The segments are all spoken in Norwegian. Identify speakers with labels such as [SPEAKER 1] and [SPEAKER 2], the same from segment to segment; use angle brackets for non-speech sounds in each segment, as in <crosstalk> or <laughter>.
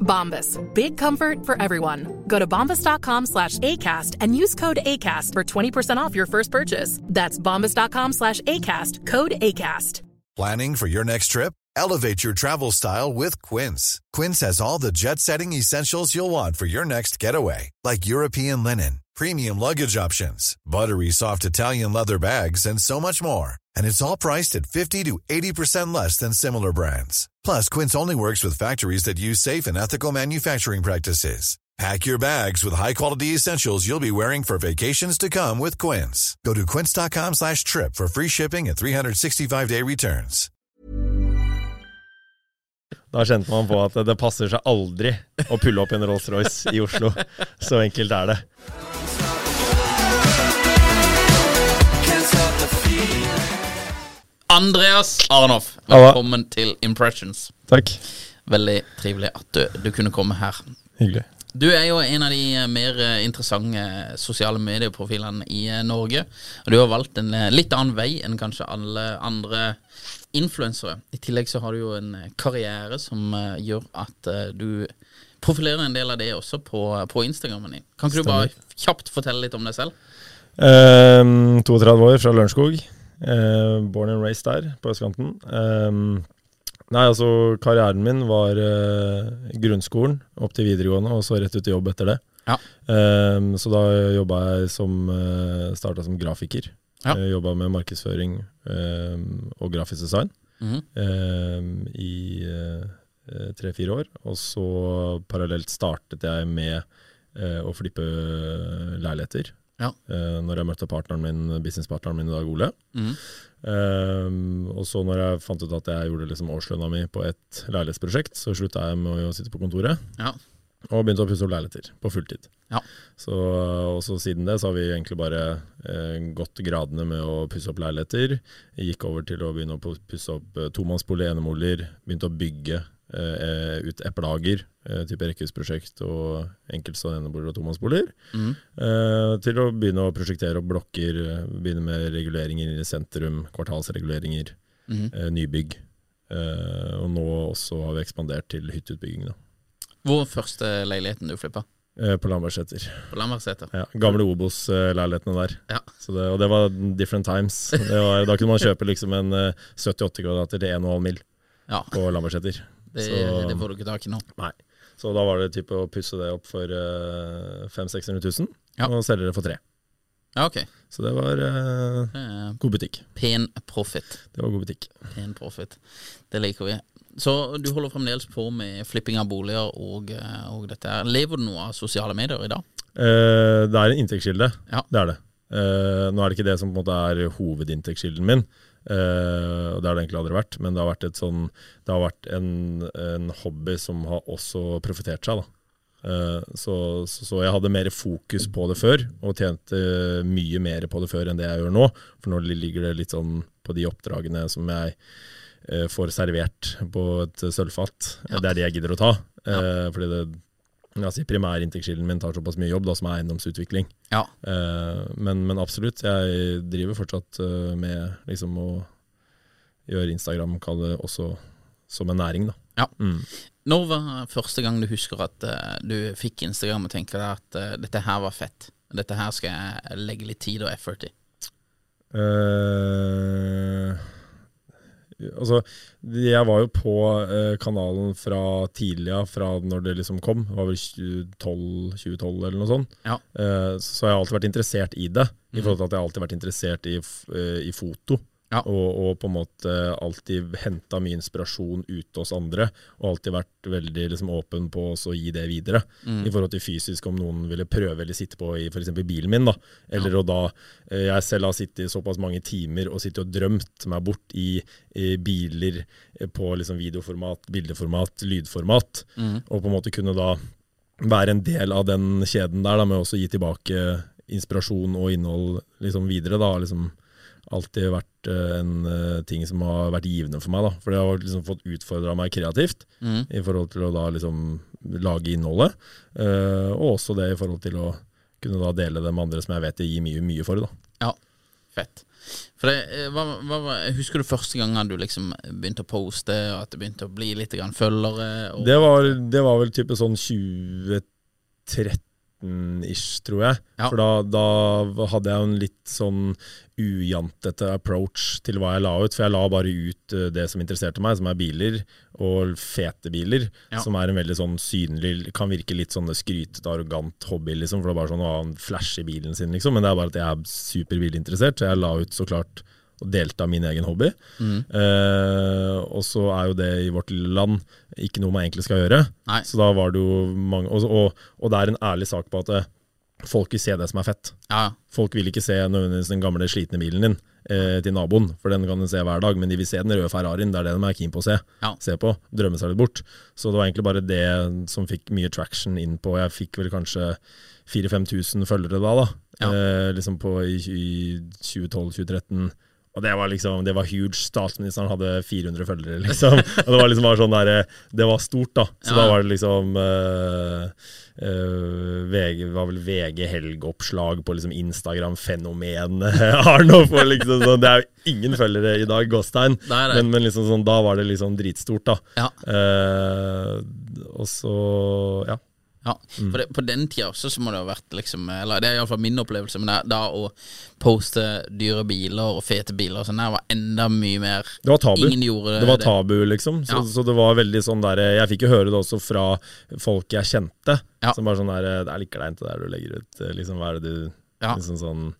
[SPEAKER 1] Bombas. Big comfort for everyone. Go to bombas.com slash ACAST and use code ACAST for 20% off your first purchase. That's bombas.com slash ACAST. Code ACAST.
[SPEAKER 2] Planning for your next trip? Elevate your travel style with Quince. Quince has all the jet setting essentials you'll want for your next getaway, like European linen, premium luggage options, buttery soft Italian leather bags, and so much more. And it's all priced at 50 to 80% less than similar brands. Plus, Quince only works with factories that use safe and ethical manufacturing practices. Pack your bags with high-quality essentials you'll be wearing for vacations to come with Quince. Go to quince.com slash trip for free shipping and 365-day returns.
[SPEAKER 3] Da kjente man på at det passer seg aldri å pulle opp en Rolls-Royce i Oslo. Så enkelt er det.
[SPEAKER 4] Andreas Arnoff, velkommen til Impressions.
[SPEAKER 3] Takk.
[SPEAKER 4] Veldig trivelig at du, du kunne komme her.
[SPEAKER 3] Hyggelig.
[SPEAKER 4] Du er jo en av de eh, mer eh, interessante sosiale medieprofilene i eh, Norge. Og du har valgt en eh, litt annen vei enn kanskje alle andre influensere. I tillegg så har du jo en eh, karriere som eh, gjør at eh, du profilerer en del av det også på, eh, på Instagrammen din. Kan ikke du bare kjapt fortelle litt om deg selv?
[SPEAKER 3] Ehm, 32 år fra Lørenskog. Ehm, born and raised der, på østkanten. Ehm, nei, altså, karrieren min var eh, grunnskolen opp til videregående, og så rett ut i jobb etter det.
[SPEAKER 4] Ja.
[SPEAKER 3] Ehm, så da jobba jeg som uh, Starta som grafiker.
[SPEAKER 4] Ja.
[SPEAKER 3] Jeg Jobba med markedsføring ehm, og grafisk design
[SPEAKER 4] Mhm.
[SPEAKER 3] ehm, i eh, tre-fire år. Og så parallelt startet jeg med eh, å flippe leiligheter.
[SPEAKER 4] Ja.
[SPEAKER 3] Eh, når jeg møtte partneren min, businesspartneren min i dag, Ole. Ehm, og så når jeg fant ut at jeg gjorde liksom årslønna mi på et leilighetsprosjekt, så slutta jeg med å sitte på kontoret
[SPEAKER 4] Ja.
[SPEAKER 3] og begynte å pusse opp leiligheter på fulltid.
[SPEAKER 4] Ja.
[SPEAKER 3] Så, og så siden det så har vi egentlig bare eh, gått gradene med å pusse opp leiligheter. Gikk over til å begynne å pu- pusse opp eh, tomannsbolig, eneboliger. Begynte å bygge eh, ut eplehager, eh, type rekkehusprosjekt og enkeltstående eneboliger og tomannsboliger. Eh, til å begynne å prosjektere opp blokker, eh, begynne med reguleringer i sentrum, kvartalsreguleringer, eh, nybygg. Eh, og nå også har vi ekspandert til hytteutbygging da,
[SPEAKER 4] Hvor er første leiligheten du flippa?
[SPEAKER 3] eh, på Lambertseter.
[SPEAKER 4] På Lambertseter?
[SPEAKER 3] Ja, gamle Obos-leilighetene der.
[SPEAKER 4] Ja.
[SPEAKER 3] Så det, og det var different times. Det var, da kunne man kjøpe liksom en eh, 70-80 kvadrater til 1,5 mil
[SPEAKER 4] Ja,
[SPEAKER 3] på Lambertseter.
[SPEAKER 4] det,
[SPEAKER 3] Så-
[SPEAKER 4] det får du ikke tak i nå.
[SPEAKER 3] Nei. Så da var det type å pusse det opp for eh, 500 000-600 000,
[SPEAKER 4] Ja.
[SPEAKER 3] og selge det for tre.
[SPEAKER 4] Ja, ok.
[SPEAKER 3] Så det var eh,
[SPEAKER 4] Det er
[SPEAKER 3] god butikk.
[SPEAKER 4] Pen profit.
[SPEAKER 3] Det var god butikk.
[SPEAKER 4] Pen profit. Det liker vi. Så du holder fremdeles på med flipping av boliger og, eh, og dette her. Lever du noe av sosiale medier i dag?
[SPEAKER 3] Eh, det er en inntektskilde,
[SPEAKER 4] Ja.
[SPEAKER 3] det er det. Eh, nå er det ikke det som på en måte er hovedinntektskilden min, eh, og det har det egentlig aldri vært, men det har vært, et sånn, det har vært en, en hobby som har også profitert seg. Da. Eh, så, så, så jeg hadde mer fokus på det før, og tjente mye mer på det før enn det jeg gjør nå, for nå ligger det litt sånn på de oppdragene som jeg eh, får servert på et sølvfat.
[SPEAKER 4] Ja.
[SPEAKER 3] Det er det jeg gidder å ta. Eh, fordi det, altså Primærinntektskilden min tar såpass mye jobb da, som er eiendomsutvikling.
[SPEAKER 4] Ja.
[SPEAKER 3] Eh, men, men absolutt, jeg driver fortsatt eh, med liksom, å gjøre Instagram kall det også som en næring. Da.
[SPEAKER 4] ja.
[SPEAKER 3] Mm.
[SPEAKER 4] Når var første gang du husker at eh, du fikk Instagram og tenker deg at eh, dette her var fett? Dette her skal jeg legge litt tid og effort i.
[SPEAKER 3] Eh, altså, jeg var jo på eh, kanalen fra tidlig av, fra når det liksom kom. Det var vel 2012, 2012 eller noe sånt.
[SPEAKER 4] Ja. Mhm.
[SPEAKER 3] Eh, så har jeg alltid vært interessert i det. I forhold til at jeg har alltid vært interessert i, f- eh, i foto.
[SPEAKER 4] Ja.
[SPEAKER 3] Og, og på en måte alltid henta mye inspirasjon ute hos andre, og alltid vært veldig liksom, åpen på også å gi det videre.
[SPEAKER 4] Mhm.
[SPEAKER 3] I forhold til fysisk, om noen ville prøve eller sitte på i f.eks. bilen min. da, Eller å da eh, Jeg selv har sittet i såpass mange timer og sittet og drømt meg bort i, i biler eh, på liksom, videoformat, bildeformat, lydformat,
[SPEAKER 4] Mhm.
[SPEAKER 3] og på en måte kunne da være en del av den kjeden der, da, med også å gi tilbake inspirasjon og innhold liksom, videre. da, har liksom alltid vært eh, en eh, ting som har vært givende for meg. da, For det har liksom fått utfordra meg kreativt i forhold til å da liksom lage innholdet, eh, og også det i forhold til å kunne da dele det med andre som jeg vet jeg gir mye, mye for. da.
[SPEAKER 4] Ja, fett. For det, eh, hva, hva, var- husker du første gangen du liksom begynte å poste, og at det begynte å bli litt grann følgere? Og,
[SPEAKER 3] Det var, det var vel type sånn 2013-ish, tror jeg.
[SPEAKER 4] Ja.
[SPEAKER 3] For da, da hadde jeg jo en litt sånn ujantete approach til hva jeg la ut. For jeg la bare ut eh, det som interesserte meg, som er biler, og fete biler.
[SPEAKER 4] Ja.
[SPEAKER 3] Som er en veldig sånn synlig, kan virke litt sånn skrytete, arrogant hobby, liksom. For det er bare sånn å ha en flash i bilen sin, liksom. Men det er bare at jeg er superbilinteressert, så jeg la ut så klart og delte av min egen hobby.
[SPEAKER 4] Mm.
[SPEAKER 3] Eh, og så er jo det i vårt lille land ikke noe man egentlig skal gjøre.
[SPEAKER 4] Nei.
[SPEAKER 3] Så da var det jo mange og, og, og det er en ærlig sak på at eh, folk vil se det som er fett.
[SPEAKER 4] ja,
[SPEAKER 3] Folk vil ikke se nødvendigvis den gamle, slitne bilen din eh, til naboen, for den kan du se hver dag, men de vil se den røde Ferrarien. Det er det de er keen på å se.
[SPEAKER 4] Ja.
[SPEAKER 3] se på, drømme seg litt bort. Så det var egentlig bare det som fikk mye traction inn på Jeg fikk vel kanskje 4000-5000 følgere da, da.
[SPEAKER 4] Ja.
[SPEAKER 3] Eh, liksom på i, i 2012-2013. Og det var liksom, det var huge. Statsministeren hadde 400 følgere, liksom. <laughs> Og det var liksom bare sånn der, eh, det var stort, da. Så
[SPEAKER 4] Ja.
[SPEAKER 3] da var det liksom eh, eh, VG, det var vel VG helgeoppslag på liksom Instagram-fenomenet <laughs> Arnoff. og Liksom, sånn, det er jo ingen følgere i dag, Gåstein.
[SPEAKER 4] Nei, nei.
[SPEAKER 3] Men, men liksom sånn, da var det liksom dritstort, da.
[SPEAKER 4] ja.
[SPEAKER 3] Eh, og så ja.
[SPEAKER 4] Ja,
[SPEAKER 3] Mm.
[SPEAKER 4] for det, på den tida også så må det ha vært liksom Eller det er iallfall min opplevelse, men det, da å poste dyre biler og fete biler og sånn, det var enda mye mer
[SPEAKER 3] Det var tabu.
[SPEAKER 4] Ingen gjorde
[SPEAKER 3] det var tabu, liksom. Så,
[SPEAKER 4] Ja.
[SPEAKER 3] så det var veldig sånn der Jeg fikk jo høre det også fra folk jeg kjente,
[SPEAKER 4] Ja.
[SPEAKER 3] som bare sånn der Det er litt kleint det der du legger ut, eh, liksom. Hva er det du
[SPEAKER 4] Ja.
[SPEAKER 3] Liksom sånn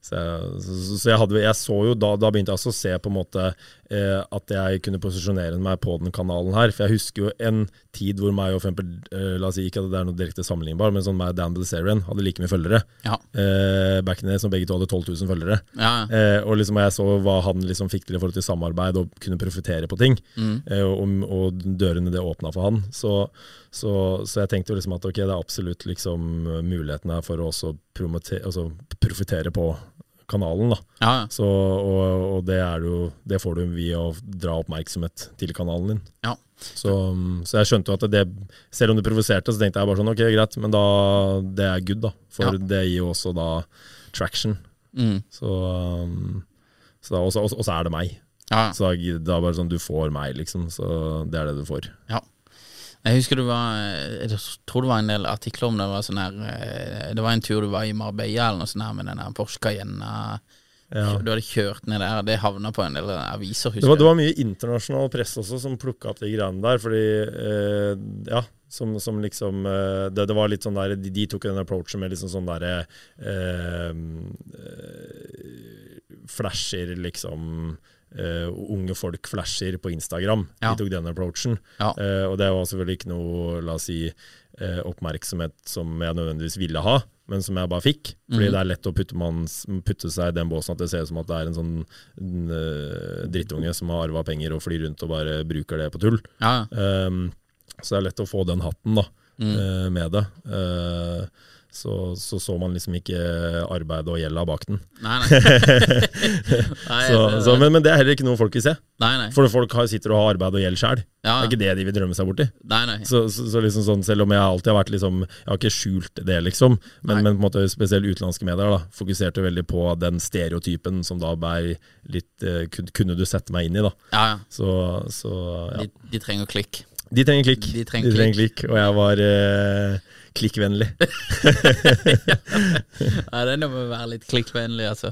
[SPEAKER 3] så jeg, så, så- så jeg, hadde, jeg så jo da, da begynte jeg også å se på en måte eh, at jeg kunne posisjonere meg på den kanalen her. For jeg husker jo en tid hvor meg og for eksempel, eh, la oss si ikke at det er noe direkte sammenlignbar, men sånn meg og Dan Bilzerian hadde like mye følgere
[SPEAKER 4] Ja.
[SPEAKER 3] eh, back in the day som begge to hadde 12 000 følgere.
[SPEAKER 4] Ja, ja.
[SPEAKER 3] Eh, og liksom jeg så hva han liksom fikk til i forhold til samarbeid og kunne profitere på ting.
[SPEAKER 4] Mm.
[SPEAKER 3] Eh, og, og dørene det åpna for han. Så, så, så jeg tenkte jo liksom at ok, det er absolutt liksom muligheten her for å også promote- altså profitere på kanalen. da.
[SPEAKER 4] ja, ja.
[SPEAKER 3] Så, og, og det, er det jo, det får du via å dra oppmerksomhet til kanalen din.
[SPEAKER 4] ja.
[SPEAKER 3] Så, så jeg skjønte jo at det, selv om det provoserte, så tenkte jeg bare sånn ok, greit, men da det er good, da. For
[SPEAKER 4] Ja.
[SPEAKER 3] det gir jo også da traction.
[SPEAKER 4] Mm.
[SPEAKER 3] Så, um, så da, og, så, og så- og så er det meg.
[SPEAKER 4] ja, ja.
[SPEAKER 3] Så da, gir- da er det bare sånn du får meg, liksom. Så det er det du får.
[SPEAKER 4] Ja. Jeg husker det var eh, Jeg tror det var en del artikler om det. Det var, sånn her, eh, det var en tur du var i Marbella eller noe sånt her med den der Porsche Cayenne.
[SPEAKER 3] Ja.
[SPEAKER 4] Du hadde kjørt ned der, det havna på en del aviser,
[SPEAKER 3] Det var,
[SPEAKER 4] husker
[SPEAKER 3] det
[SPEAKER 4] jeg.
[SPEAKER 3] var mye internasjonal presse også som plukka opp de greiene der, fordi eh, Ja. Som, som liksom eh, det, det var litt sånn der De, de tok den approachen med liksom sånn derre eh, eh, Flasher, liksom eh, Unge folk flasher på Instagram.
[SPEAKER 4] Ja.
[SPEAKER 3] De tok den approachen.
[SPEAKER 4] Ja.
[SPEAKER 3] Eh, og det var selvfølgelig ikke noe la oss si, eh, oppmerksomhet som jeg nødvendigvis ville ha, men som jeg bare fikk.
[SPEAKER 4] Mhm.
[SPEAKER 3] Fordi det er lett å putte, man, putte seg i den båsen at det ser ut som at det er en sånn en, eh, drittunge som har arva penger og flyr rundt og bare bruker det på tull.
[SPEAKER 4] Ja, ja.
[SPEAKER 3] Ehm, så det er lett å få den hatten da,
[SPEAKER 4] Mm.
[SPEAKER 3] eh, med det. Eh, så, så så man liksom ikke arbeidet og gjelda bak den.
[SPEAKER 4] Nei,
[SPEAKER 3] <laughs>
[SPEAKER 4] nei. nei,
[SPEAKER 3] Så,
[SPEAKER 4] det-
[SPEAKER 3] så, men, men det er heller ikke noe folk vil se.
[SPEAKER 4] nei, nei.
[SPEAKER 3] For folk har, sitter og har arbeid og gjeld sjæl. Det
[SPEAKER 4] Ja, ja.
[SPEAKER 3] er ikke det de vil drømme seg borti.
[SPEAKER 4] nei, nei.
[SPEAKER 3] Så, så, så liksom sånn, selv om jeg alltid har vært liksom Jeg har ikke skjult det, liksom, men, men på en måte spesielt utenlandske medier da fokuserte veldig på den stereotypen som da ble litt eh, kun- Kunne du sette meg inn i, da.
[SPEAKER 4] Ja, ja.
[SPEAKER 3] Så, så ja.
[SPEAKER 4] De, de trenger klikk.
[SPEAKER 3] De trenger klikk.
[SPEAKER 4] De trenger
[SPEAKER 3] klikk. Og jeg var eh,
[SPEAKER 4] <laughs>
[SPEAKER 3] klikkvennlig.
[SPEAKER 4] Nei, det er noe med å være litt klikkvennlig, altså.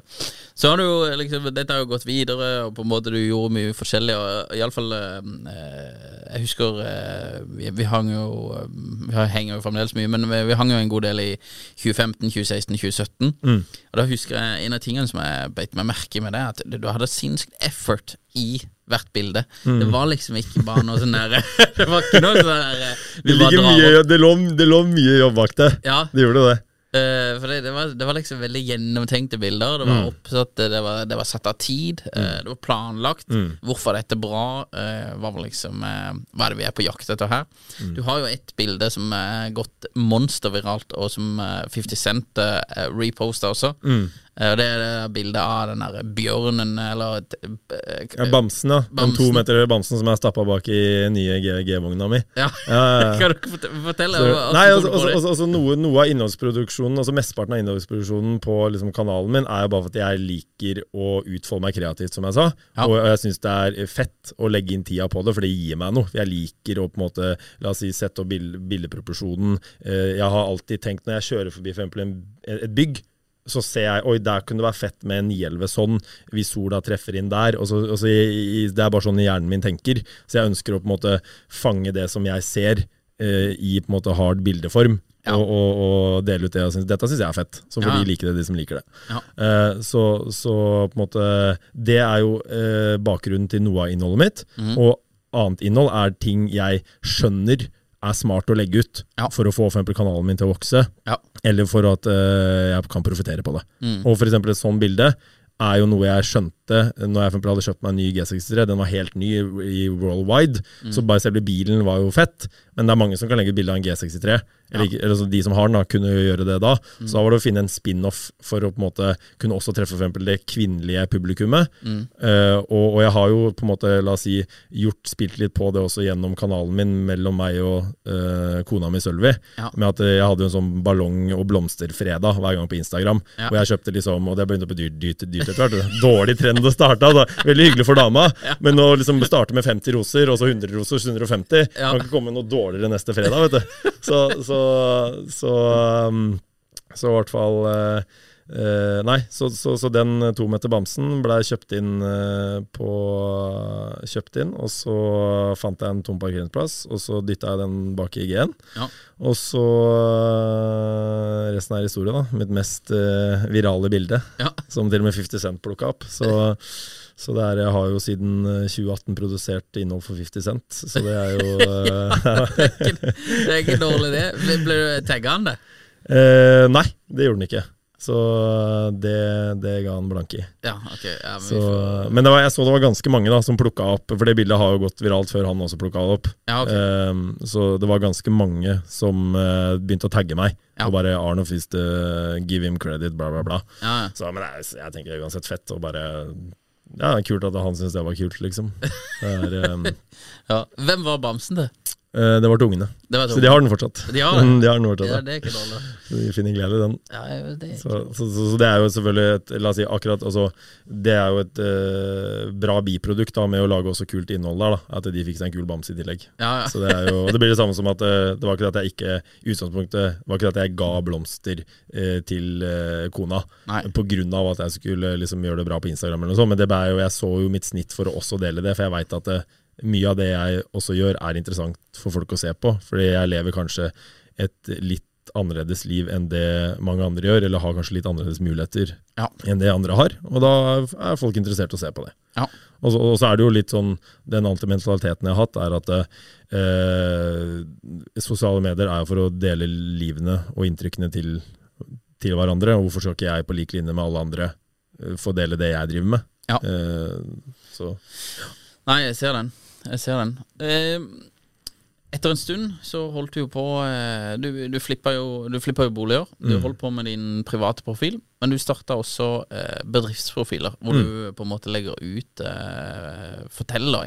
[SPEAKER 4] Så har du jo liksom Dette har jo gått videre, og på en måte du gjorde mye forskjellig, og iallfall eh, Jeg husker eh, vi, vi hang jo eh, Vi har- henger jo fremdeles mye, men vi, vi hang jo en god del i 2015, 2016, 2017.
[SPEAKER 3] Mm.
[SPEAKER 4] Og da husker jeg en av tingene som jeg beit meg merke i med det, at du, du hadde sinnssykt effort i hvert bilde.
[SPEAKER 3] Mm.
[SPEAKER 4] Det var liksom ikke bare noe sånn der <laughs> Det var ikke noe sånn der eh, du
[SPEAKER 3] Det,
[SPEAKER 4] bare
[SPEAKER 3] ligger
[SPEAKER 4] drar
[SPEAKER 3] mye,
[SPEAKER 4] opp.
[SPEAKER 3] det, lå, det lå mye jobb bak det.
[SPEAKER 4] Ja,
[SPEAKER 3] Det gjorde det.
[SPEAKER 4] Eh, for det, det, var, det var liksom veldig gjennomtenkte bilder. Det var
[SPEAKER 3] Mm.
[SPEAKER 4] oppsatt, eh, det var, det var satt av tid, eh, det var planlagt.
[SPEAKER 3] Mm.
[SPEAKER 4] Hvorfor er dette bra? eh, hva, var liksom, eh, hva er det vi er på jakt etter her?
[SPEAKER 3] Mm.
[SPEAKER 4] Du har jo et bilde som er gått monsterviralt, og som eh, 50 Cent uh, reposta også.
[SPEAKER 3] Mm.
[SPEAKER 4] Eh, og det er det der bildet av den der bjørnen, eller et- eh,
[SPEAKER 3] Ja, Bamsen, ja. Den
[SPEAKER 4] Bamsen.
[SPEAKER 3] to meter høye bamsen som jeg stappa bak i nye G- G-vogna mi.
[SPEAKER 4] ja.
[SPEAKER 3] Ja, ja, ja.
[SPEAKER 4] <laughs> Kan du fortelle, fortelle
[SPEAKER 3] Så,
[SPEAKER 4] hvordan
[SPEAKER 3] nei,
[SPEAKER 4] kom
[SPEAKER 3] altså,
[SPEAKER 4] du på
[SPEAKER 3] altså,
[SPEAKER 4] det?
[SPEAKER 3] altså, altså noe, noe av innholdsproduksjonen, altså mesteparten av innholdsproduksjonen på liksom, kanalen min, er jo bare for at jeg liker å utfolde meg kreativt, som jeg sa.
[SPEAKER 4] Ja.
[SPEAKER 3] Og, og jeg syns det er eh, fett å legge inn tida på det, for det gir meg noe. Jeg liker å på en måte, la oss si, sette opp bild, bildeproporsjonen. Eh, jeg har alltid tenkt, når jeg kjører forbi for eksempel en, et bygg, så ser jeg oi, der kunne det være fett med en 911 sånn, hvis sola treffer inn der. Og så, og så, i- i- det er bare sånn hjernen min tenker. Så jeg ønsker å på en måte fange det som jeg ser, eh, i på en måte hard bildeform. Og, og, og dele ut det. Jeg synes, dette syns jeg er fett. Så får
[SPEAKER 4] Ja.
[SPEAKER 3] de like det, de som liker det.
[SPEAKER 4] Ja.
[SPEAKER 3] Eh, så, så på en måte Det er jo eh, bakgrunnen til noe av innholdet mitt.
[SPEAKER 4] Mhm.
[SPEAKER 3] Og annet innhold er ting jeg skjønner er smart å legge ut
[SPEAKER 4] Ja.
[SPEAKER 3] for å få for eksempel kanalen min til å vokse.
[SPEAKER 4] Ja.
[SPEAKER 3] Eller for at eh, jeg kan profitere på det. Og for eksempel et sånt bilde er jo noe jeg skjønte når jeg for eksempel hadde kjøpt meg en ny G63. Den var helt ny i- i worldwide, så bare selve bilen var jo fett. Men det er mange som kan legge ut bilde av en G63. Eller, ikke- eller så de som har den, da, kunne jo gjøre det da. Så da var det å finne en spin-off for å på en måte kunne også treffe for eksempel det kvinnelige publikummet. Eh, og, og jeg har jo på en måte, la oss si, gjort, spilt litt på det også gjennom kanalen min mellom meg og eh, kona mi Sølvi.
[SPEAKER 4] Ja.
[SPEAKER 3] Med at eh, jeg hadde jo en sånn ballong- og blomsterfredag hver gang på Instagram.
[SPEAKER 4] Ja.
[SPEAKER 3] Og jeg kjøpte liksom, og det begynte å bli dyrt, dyrt, dyrt etter hvert. Dårlig trend å starte, altså. Veldig hyggelig for
[SPEAKER 4] <laughs>
[SPEAKER 3] dama, men å liksom starte med 50 roser, og så 100 roser, så 150.
[SPEAKER 4] Ja.
[SPEAKER 3] Kan ikke komme noe dårligere neste fredag, vet du. Så, så, så, um, så i hvert fall eh, eh, nei, så, så, så den to meter bamsen ble kjøpt inn eh, på Kjøpt inn, og så fant jeg en tom parkeringsplass, og så dytta jeg den bak i G-en.
[SPEAKER 4] Ja.
[SPEAKER 3] Og så eh, Resten er historie, da. Mitt mest eh, virale bilde,
[SPEAKER 4] Ja.
[SPEAKER 3] som til og med 50 Cent plukka opp. Så, så det er, jeg har jo siden eh, 2018 produsert innhold for 50 Cent, så det er jo eh,
[SPEAKER 4] <laughs>
[SPEAKER 3] <laughs>
[SPEAKER 4] Det er ikke dårlig, det. Ble- Ble du tagga han det?
[SPEAKER 3] eh, Nei, det gjorde den ikke. Så eh, det, det ga han blanke i.
[SPEAKER 4] Ja, ok. Ja, men vi
[SPEAKER 3] Så,
[SPEAKER 4] får-
[SPEAKER 3] men det var, jeg så det var ganske mange da som plukka opp, for det bildet har jo gått viralt før han også plukka det opp.
[SPEAKER 4] Ja, ok.
[SPEAKER 3] Ehm, så det var ganske mange som eh, begynte å tagge meg.
[SPEAKER 4] Ja.
[SPEAKER 3] Og bare 'Arno Fist, eh, give him credit', bla, bla, bla.
[SPEAKER 4] ja, ja.
[SPEAKER 3] Så, men det er, jeg tenker det er uansett fett å bare Ja, det er kult at han syntes det var kult, liksom. Det,
[SPEAKER 4] <laughs>
[SPEAKER 3] er, ehm,
[SPEAKER 4] Ja. Hvem var bamsen, det?
[SPEAKER 3] eh, det var til ungene.
[SPEAKER 4] Det var
[SPEAKER 3] Så de har den fortsatt.
[SPEAKER 4] De har den?
[SPEAKER 3] Mm, <laughs> de har den
[SPEAKER 4] ja,
[SPEAKER 3] fortsatt
[SPEAKER 4] det er ikke dårlig.
[SPEAKER 3] ja. Så de finner glede i den.
[SPEAKER 4] Ja, det er
[SPEAKER 3] Så, så, så, så det er jo selvfølgelig et, La oss si akkurat altså, Det er jo et eh, bra biprodukt da med å lage også kult innhold der. da At de fikk seg en kul bamse i tillegg.
[SPEAKER 4] ja, ja.
[SPEAKER 3] Så det, er jo, og det blir det samme som at eh, det var ikke det at jeg ikke i utgangspunktet var ikke det at jeg ga blomster eh, til eh, kona
[SPEAKER 4] Nei.
[SPEAKER 3] på grunn av at jeg skulle liksom, gjøre det bra på Instagram, eller noe sånt, men det ble jo, jeg så jo mitt snitt for å også dele det. For jeg veit at eh, mye av det jeg også gjør, er interessant for folk å se på. Fordi jeg lever kanskje et litt annerledes liv enn det mange andre gjør, eller har kanskje litt annerledes muligheter
[SPEAKER 4] Ja.
[SPEAKER 3] enn det andre har. Og da er folk interessert i å se på det.
[SPEAKER 4] Ja.
[SPEAKER 3] Og så, og så er det jo litt sånn Den antimentaliteten jeg har hatt, er at eh, sosiale medier er jo for å dele livene og inntrykkene til, til hverandre. Og hvorfor skal ikke jeg på lik linje med alle andre eh, få dele det jeg driver med?
[SPEAKER 4] Ja.
[SPEAKER 3] Eh, så
[SPEAKER 4] Nei, jeg ser den. Jeg ser den. Eh, etter en stund så holdt du jo på eh, Du, du flippa jo, du flippa jo boliger. Du
[SPEAKER 3] Mm.
[SPEAKER 4] holdt på med din private profil, men du starta også eh, bedriftsprofiler,
[SPEAKER 3] Mm.
[SPEAKER 4] hvor du på en måte legger ut eh, Forteller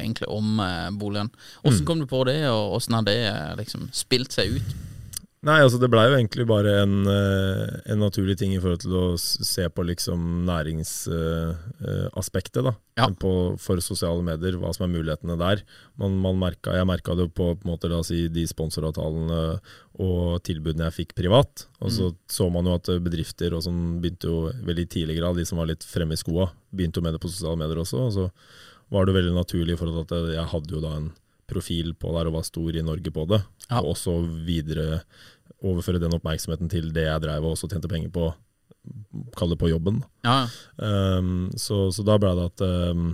[SPEAKER 3] Mm.
[SPEAKER 4] egentlig om eh, boligen. Åssen kom du på det, og åssen har det eh, liksom spilt seg ut?
[SPEAKER 3] Nei, altså det blei jo egentlig bare en, eh, en naturlig ting i forhold til å s- se på liksom næringsaspektet da,
[SPEAKER 4] Ja.
[SPEAKER 3] på, for sosiale medier, hva som er mulighetene der. Man, man merka, jeg merka det på, på en måte, la oss si, de sponsoravtalene og tilbudene jeg fikk privat. Og så
[SPEAKER 4] Mm.
[SPEAKER 3] så man jo at eh, bedrifter og sånn begynte jo veldig tidlig grad, de som var litt fremme i skoa, begynte jo med det på sosiale medier også. Og så var det veldig naturlig i forhold til at jeg hadde jo da en profil på der og var stor i Norge på det.
[SPEAKER 4] Ja.
[SPEAKER 3] Og også videre overføre den oppmerksomheten til det jeg drev og også tjente penger på, kall det på jobben.
[SPEAKER 4] Ja, ja.
[SPEAKER 3] Um, så, så da ble det at um,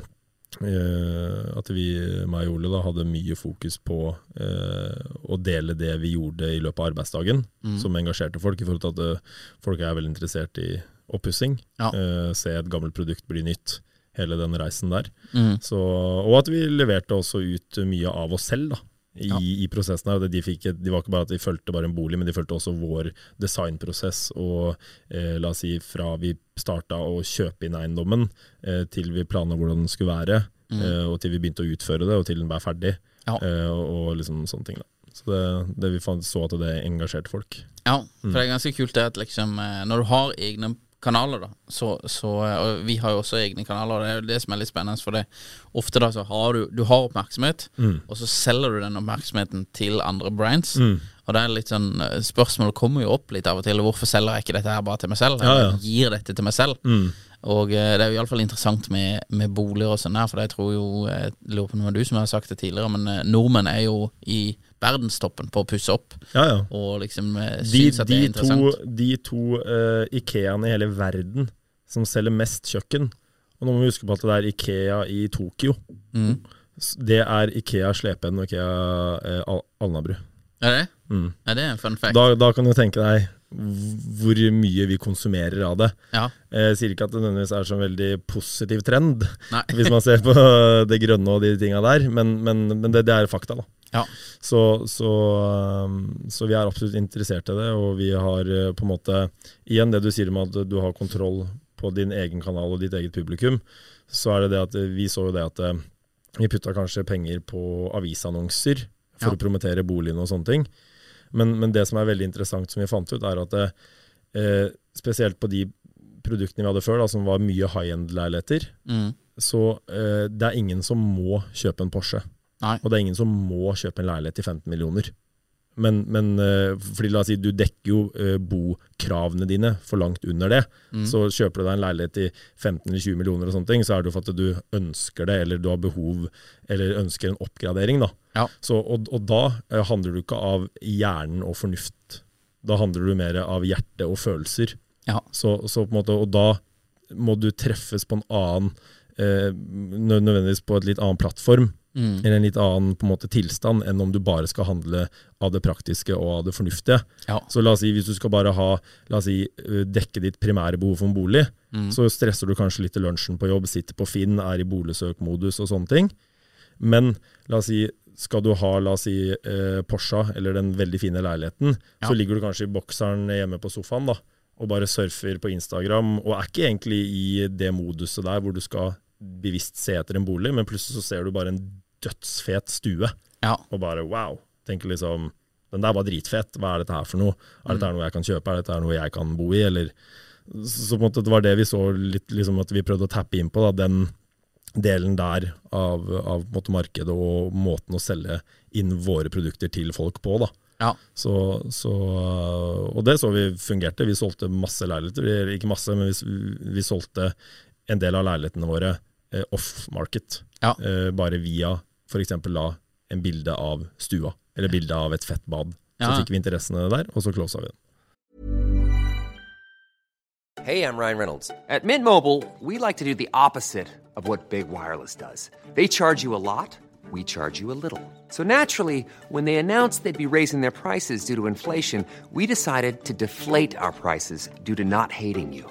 [SPEAKER 3] eh, at vi, meg og Ole, da, hadde mye fokus på eh, å dele det vi gjorde i løpet av arbeidsdagen,
[SPEAKER 4] Mm.
[SPEAKER 3] som engasjerte folk. I forhold til at eh, folk er veldig interessert i oppussing.
[SPEAKER 4] Ja.
[SPEAKER 3] Eh, se et gammelt produkt bli nytt. Hele den reisen der.
[SPEAKER 4] Mm.
[SPEAKER 3] Så, og at vi leverte også ut mye av oss selv da, i,
[SPEAKER 4] Ja.
[SPEAKER 3] i prosessen. her. Og det- De, fikk, et- de var ikke bare at de fulgte bare en bolig, men de fulgte også vår designprosess. Og eh, la oss si fra vi starta å kjøpe inn eiendommen, eh, til vi planla hvordan den skulle være, eh, og til vi begynte å utføre det, og til den ble ferdig.
[SPEAKER 4] Mm. Ja.
[SPEAKER 3] Eh, og, og liksom sånne ting. da. Så det, det vi fant, så at det engasjerte folk.
[SPEAKER 4] Ja,
[SPEAKER 3] Mm.
[SPEAKER 4] for det er ganske kult det at liksom eh, Når du har egne kanaler, da, så, så eh, Og vi har jo også egne kanaler, og det er jo det som er litt spennende. For det ofte da så har du Du har oppmerksomhet,
[SPEAKER 3] Mm.
[SPEAKER 4] og så selger du den oppmerksomheten til andre brands. Og det er litt sånn eh, Spørsmålet kommer jo opp litt av og til. Hvorfor selger jeg ikke dette her bare til meg selv?
[SPEAKER 3] Ja, Mm. ja.
[SPEAKER 4] Eller Gir dette til meg selv? Og eh, det er jo iallfall interessant med, med boliger og sånn her, for jeg tror jo eh, Lurer på om det var du som har sagt det tidligere, men eh, nordmenn er jo i verdenstoppen på å pusse opp
[SPEAKER 3] Ja, ja.
[SPEAKER 4] og liksom eh,
[SPEAKER 3] De,
[SPEAKER 4] syns at det
[SPEAKER 3] de
[SPEAKER 4] er
[SPEAKER 3] to,
[SPEAKER 4] interessant.
[SPEAKER 3] de to eh, Ikeaene i hele verden som selger mest kjøkken Og nå må vi huske på at det er Ikea i Tokyo.
[SPEAKER 4] Mm.
[SPEAKER 3] S- Det er Ikea Slepen og Ikea eh, Al- Alnabru.
[SPEAKER 4] Er det?
[SPEAKER 3] Mm.
[SPEAKER 4] Ja, det er en fun fact.
[SPEAKER 3] Da, da kan du tenke deg hv- hvor mye vi konsumerer av det.
[SPEAKER 4] ja.
[SPEAKER 3] Eh, Jeg sier ikke at det nødvendigvis er sånn veldig positiv trend,
[SPEAKER 4] Nei.
[SPEAKER 3] hvis man
[SPEAKER 4] <laughs>
[SPEAKER 3] ser på det grønne og de tinga der, men, men, men det, det er fakta, da.
[SPEAKER 4] Ja.
[SPEAKER 3] Så, så, um, så vi er absolutt interessert i det, og vi har eh, på en måte Igjen det du sier om at du har kontroll på din egen kanal og ditt eget publikum, så er det det at eh, vi så jo det at eh, vi putta kanskje penger på avisannonser for
[SPEAKER 4] Ja.
[SPEAKER 3] å promotere boligen og sånne ting. Men, men det som er veldig interessant som vi fant ut, er at eh, eh, spesielt på de produktene vi hadde før, da, som var mye high-end-leiligheter,
[SPEAKER 4] Mm.
[SPEAKER 3] så eh, det er ingen som må kjøpe en Porsche.
[SPEAKER 4] Nei.
[SPEAKER 3] Og det er ingen som må kjøpe en leilighet til 15 millioner. Men, men eh, fordi la oss si, du dekker jo eh, bokravene dine for langt under det. Så kjøper du deg en leilighet til 15 eller 20 millioner, og sånne ting, så er det jo for at du ønsker det, eller du har behov, eller ønsker en oppgradering. da.
[SPEAKER 4] Ja.
[SPEAKER 3] Så, og, og da eh, handler du ikke av hjernen og fornuft. Da handler du mer av hjerte og følelser.
[SPEAKER 4] Ja.
[SPEAKER 3] Så, så på en måte, og da må du treffes på en annen eh, nø- Nødvendigvis på et litt annen plattform,
[SPEAKER 4] Mm.
[SPEAKER 3] eller en litt annen på en måte, tilstand, enn om du bare skal handle av det praktiske og av det fornuftige.
[SPEAKER 4] Ja.
[SPEAKER 3] Så la oss si, hvis du skal bare ha, la oss si, eh, dekke ditt primære behov for en bolig,
[SPEAKER 4] Mm.
[SPEAKER 3] så stresser du kanskje litt i lunsjen på jobb, sitter på Finn, er i boligsøkmodus og sånne ting. Men la oss si, skal du ha la oss si, eh, Porsche eller den veldig fine leiligheten,
[SPEAKER 4] Ja.
[SPEAKER 3] så ligger du kanskje i bokseren hjemme på sofaen da, og bare surfer på Instagram, og er ikke egentlig i det moduset der hvor du skal bevisst se etter en bolig, men plutselig så ser du bare en dødsfet stue
[SPEAKER 4] ja.
[SPEAKER 3] og bare wow. Tenker liksom Den der var dritfett, hva er dette her for noe? Er dette her noe jeg kan kjøpe, er dette her noe jeg kan bo i, eller Så så på en måte det var det vi så litt liksom at vi prøvde å tappe inn på, da, den delen der av, av på en måte markedet og måten å selge inn våre produkter til folk på, da.
[SPEAKER 4] Ja.
[SPEAKER 3] Så, så, og det så vi fungerte. Vi solgte masse leiligheter. Eller Ikke masse, men vi, vi solgte en del av leilighetene våre eh, off-market.
[SPEAKER 4] Ja.
[SPEAKER 3] Eh, bare via f.eks. la en bilde av stua, eller bilde av et fett bad. Så
[SPEAKER 4] Ja.
[SPEAKER 3] fikk vi interessene der, og så closa vi den.
[SPEAKER 5] Hey, I'm Ryan Reynolds. At Mint Mobile, we like to do the opposite of what Big Wireless does. They charge you a lot, we charge you a little. So naturally, when they announced they'd be raising their prices due to inflation, we decided to deflate our prices due to not hating you.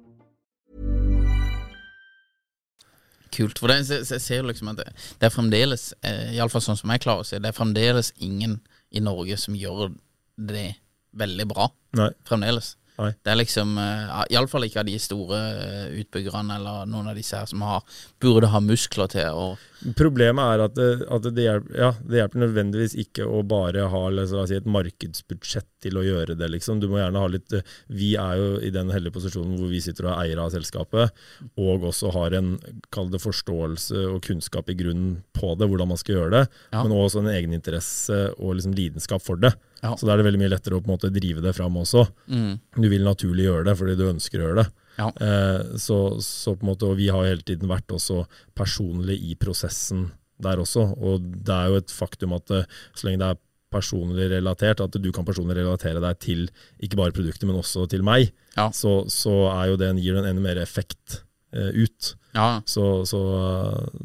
[SPEAKER 4] Kult. For det, jeg, jeg ser jo liksom at det, det er fremdeles, eh, iallfall sånn som jeg klarer å se, det er fremdeles ingen i Norge som gjør det veldig bra.
[SPEAKER 3] Nei.
[SPEAKER 4] Fremdeles.
[SPEAKER 3] Nei.
[SPEAKER 4] Det er liksom eh, Iallfall ikke av de store eh, utbyggerne eller noen av disse her som har, burde ha muskler til å
[SPEAKER 3] Problemet er at, det- at det, hjelper, ja, det hjelper nødvendigvis ikke å bare ha la oss si, et markedsbudsjett til å gjøre det. Liksom. Du må gjerne ha litt eh, Vi er jo i den heldige posisjonen hvor vi sitter og er eiere av selskapet, og også har en kall det forståelse og kunnskap i grunnen på det, hvordan man skal gjøre det,
[SPEAKER 4] Ja.
[SPEAKER 3] men også en egeninteresse og liksom lidenskap for det.
[SPEAKER 4] Ja. Mm.
[SPEAKER 3] Så da er det veldig mye lettere å på en måte drive det fram også. Du vil naturlig gjøre det fordi du ønsker å gjøre det.
[SPEAKER 4] Ja.
[SPEAKER 3] Eh, så, så på en måte, og vi har hele tiden vært også personlig i prosessen der også. Og det er jo et faktum at eh, så lenge det er personlig relatert, at du kan personlig relatere deg til ikke bare produktet, men også til meg,
[SPEAKER 4] Ja.
[SPEAKER 3] så, så er jo det en, gir det en enda mer effekt eh, ut.
[SPEAKER 4] Ja.
[SPEAKER 3] Så, så,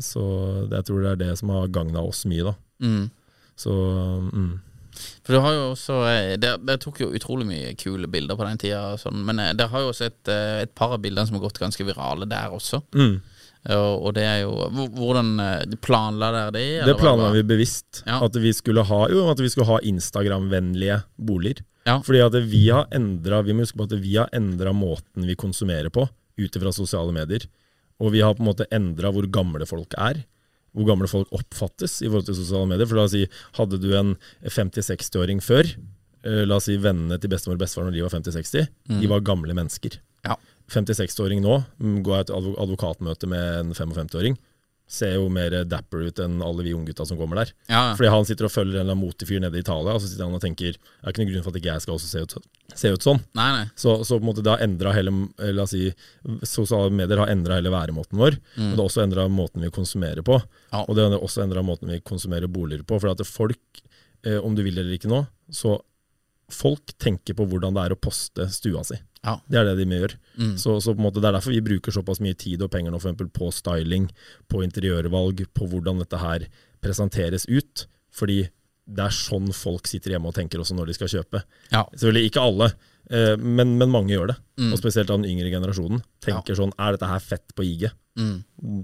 [SPEAKER 3] så jeg tror det er det som har gagna oss mye, da.
[SPEAKER 4] Mm.
[SPEAKER 3] Så mm.
[SPEAKER 4] For du har jo også eh, Dere dere tok jo utrolig mye kule bilder på den tida, og sånn, men eh, dere har jo også et, eh, et par av bildene som har gått ganske virale der også.
[SPEAKER 3] Mm.
[SPEAKER 4] Og, og det er jo hvor- Hvordan eh, planla dere det? eller
[SPEAKER 3] Det
[SPEAKER 4] var
[SPEAKER 3] planla
[SPEAKER 4] bare-
[SPEAKER 3] vi bevisst.
[SPEAKER 4] Ja.
[SPEAKER 3] At vi skulle ha, jo, at vi skulle ha Instagram-vennlige boliger.
[SPEAKER 4] Ja.
[SPEAKER 3] Fordi at vi har endra Vi må huske på at vi har endra måten vi konsumerer på, ut ifra sosiale medier. Og vi har på en måte endra hvor gamle folk er. Hvor gamle folk oppfattes i forhold til sosiale medier. For la oss si, hadde du en 50-60-åring før eh, La oss si vennene til bestemor og bestefar når de var 50-60,
[SPEAKER 4] Mm.
[SPEAKER 3] de var gamle mennesker.
[SPEAKER 4] Ja.
[SPEAKER 3] 56-åring nå, mm, går jeg til advo- advokatmøte med en 55-åring, ser jo mer dapper ut enn alle vi unggutta som kommer der.
[SPEAKER 4] Ja, ja.
[SPEAKER 3] Fordi han sitter og følger en eller annen motig fyr nede i Italia, og så sitter han og tenker det er ikke noen grunn for at ikke jeg skal også se ut, så- se ut sånn.
[SPEAKER 4] Nei, nei.
[SPEAKER 3] Så, så på en måte det har endra hele eh, La oss si sosiale medier har endra hele væremåten vår. Men det har også endra måten vi konsumerer på.
[SPEAKER 4] Mm. Ja.
[SPEAKER 3] Og det har også endra måten vi konsumerer boliger på. For at det folk, eh, om du vil eller ikke nå, så folk tenker på hvordan det er å poste stua si.
[SPEAKER 4] Ja.
[SPEAKER 3] Det er det de gjør.
[SPEAKER 4] Mm.
[SPEAKER 3] Så, så på en måte det er derfor vi bruker såpass mye tid og penger nå for eksempel på styling, på interiørvalg, på hvordan dette her presenteres ut. Fordi det er sånn folk sitter hjemme og tenker også når de skal kjøpe.
[SPEAKER 4] Ja. Mm.
[SPEAKER 3] Selvfølgelig ikke alle, eh, men, men mange gjør det. Og spesielt av den yngre generasjonen. Tenker sånn Er dette her fett på IG?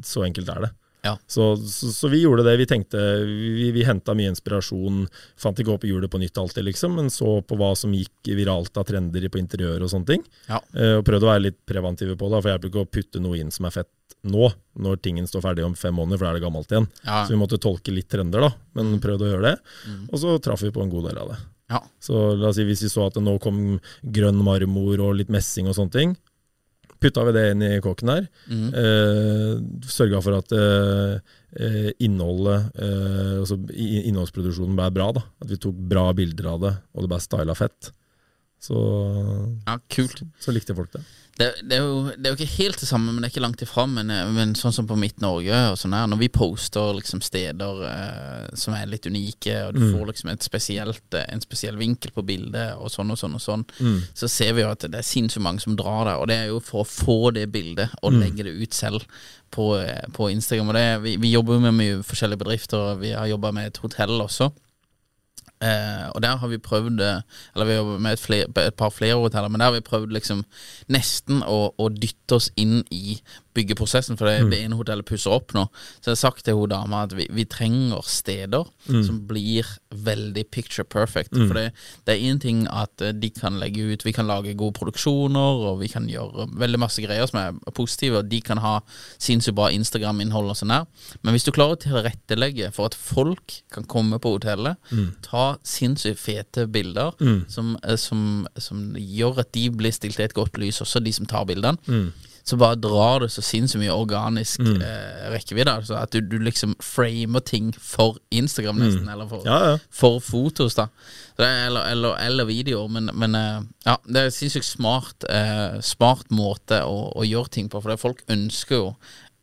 [SPEAKER 3] Så enkelt er det.
[SPEAKER 4] Mm. Ja.
[SPEAKER 3] Så, så, så vi gjorde det vi tenkte. Vi, vi henta mye inspirasjon. Fant ikke opp hjulet på nytt alltid, liksom, men så på hva som gikk viralt av trender på interiør og sånne ting.
[SPEAKER 4] Ja.
[SPEAKER 3] Eh, og prøvde å være litt preventive på det, for jeg hjelper ikke å putte noe inn som er fett nå, når tingen står ferdig om fem måneder, for da er det gammelt igjen.
[SPEAKER 4] Ja.
[SPEAKER 3] Så vi måtte tolke litt trender, da, men prøvde å gjøre det. Og så traff vi på en god del av det.
[SPEAKER 4] Ja.
[SPEAKER 3] Så la oss si hvis vi så at det nå kom grønn marmor og litt messing og sånne ting, putta vi det inn i kåken der. Eh, Sørga for at eh, eh, innholdet, eh, altså i- innholdsproduksjonen ble bra. da At vi tok bra bilder av det, og det ble styla fett. Så,
[SPEAKER 4] ja, kult.
[SPEAKER 3] så likte folk det.
[SPEAKER 4] Det, det, er jo, det er jo ikke helt det samme, men det er ikke langt ifra. Men, eh, men sånn som på Midt-Norge, og sånn her, når vi poster liksom steder eh, som er litt unike, og du får liksom et spesielt, eh, en spesiell vinkel på bildet, og sånn og sånn, og sånn så ser vi jo at det er sinnssykt mange som drar der. Og det er jo for å få det bildet og legge det ut selv på, eh, på Instagram. Og det, vi, vi jobber jo med mye forskjellige bedrifter, og vi har jobba med et hotell også. Eh, og der har vi prøvd eh, Eller vi har jobbet med et, fler, et par flere hoteller, men der har vi prøvd liksom nesten å, å dytte oss inn i byggeprosessen, for det, det ene hotellet pusser opp nå. Så jeg har sagt til hun dama at vi, vi trenger steder som blir veldig picture perfect. For det, det er én ting at eh, de kan legge ut Vi kan lage gode produksjoner, og vi kan gjøre veldig masse greier som er positive, og de kan ha sinnssykt bra Instagram-innhold og sånn der. Men hvis du klarer å tilrettelegge for at folk kan komme på hotellet,
[SPEAKER 3] Mm.
[SPEAKER 4] ta sinnssykt fete bilder som, eh, som, som gjør at de blir stilt i et godt lys, også de som tar bildene,
[SPEAKER 3] Mm.
[SPEAKER 4] så bare drar det så sinnssykt mye organisk eh, rekkevidde. Altså at du, du liksom framer ting for Instagram, nesten, eller for,
[SPEAKER 3] Mm. Ja, ja.
[SPEAKER 4] for fotos, da. Så det er, eller, eller, eller videoer, men, men eh, ja, det er en sinnssykt smart, eh, smart måte å, å gjøre ting på. For det er folk ønsker jo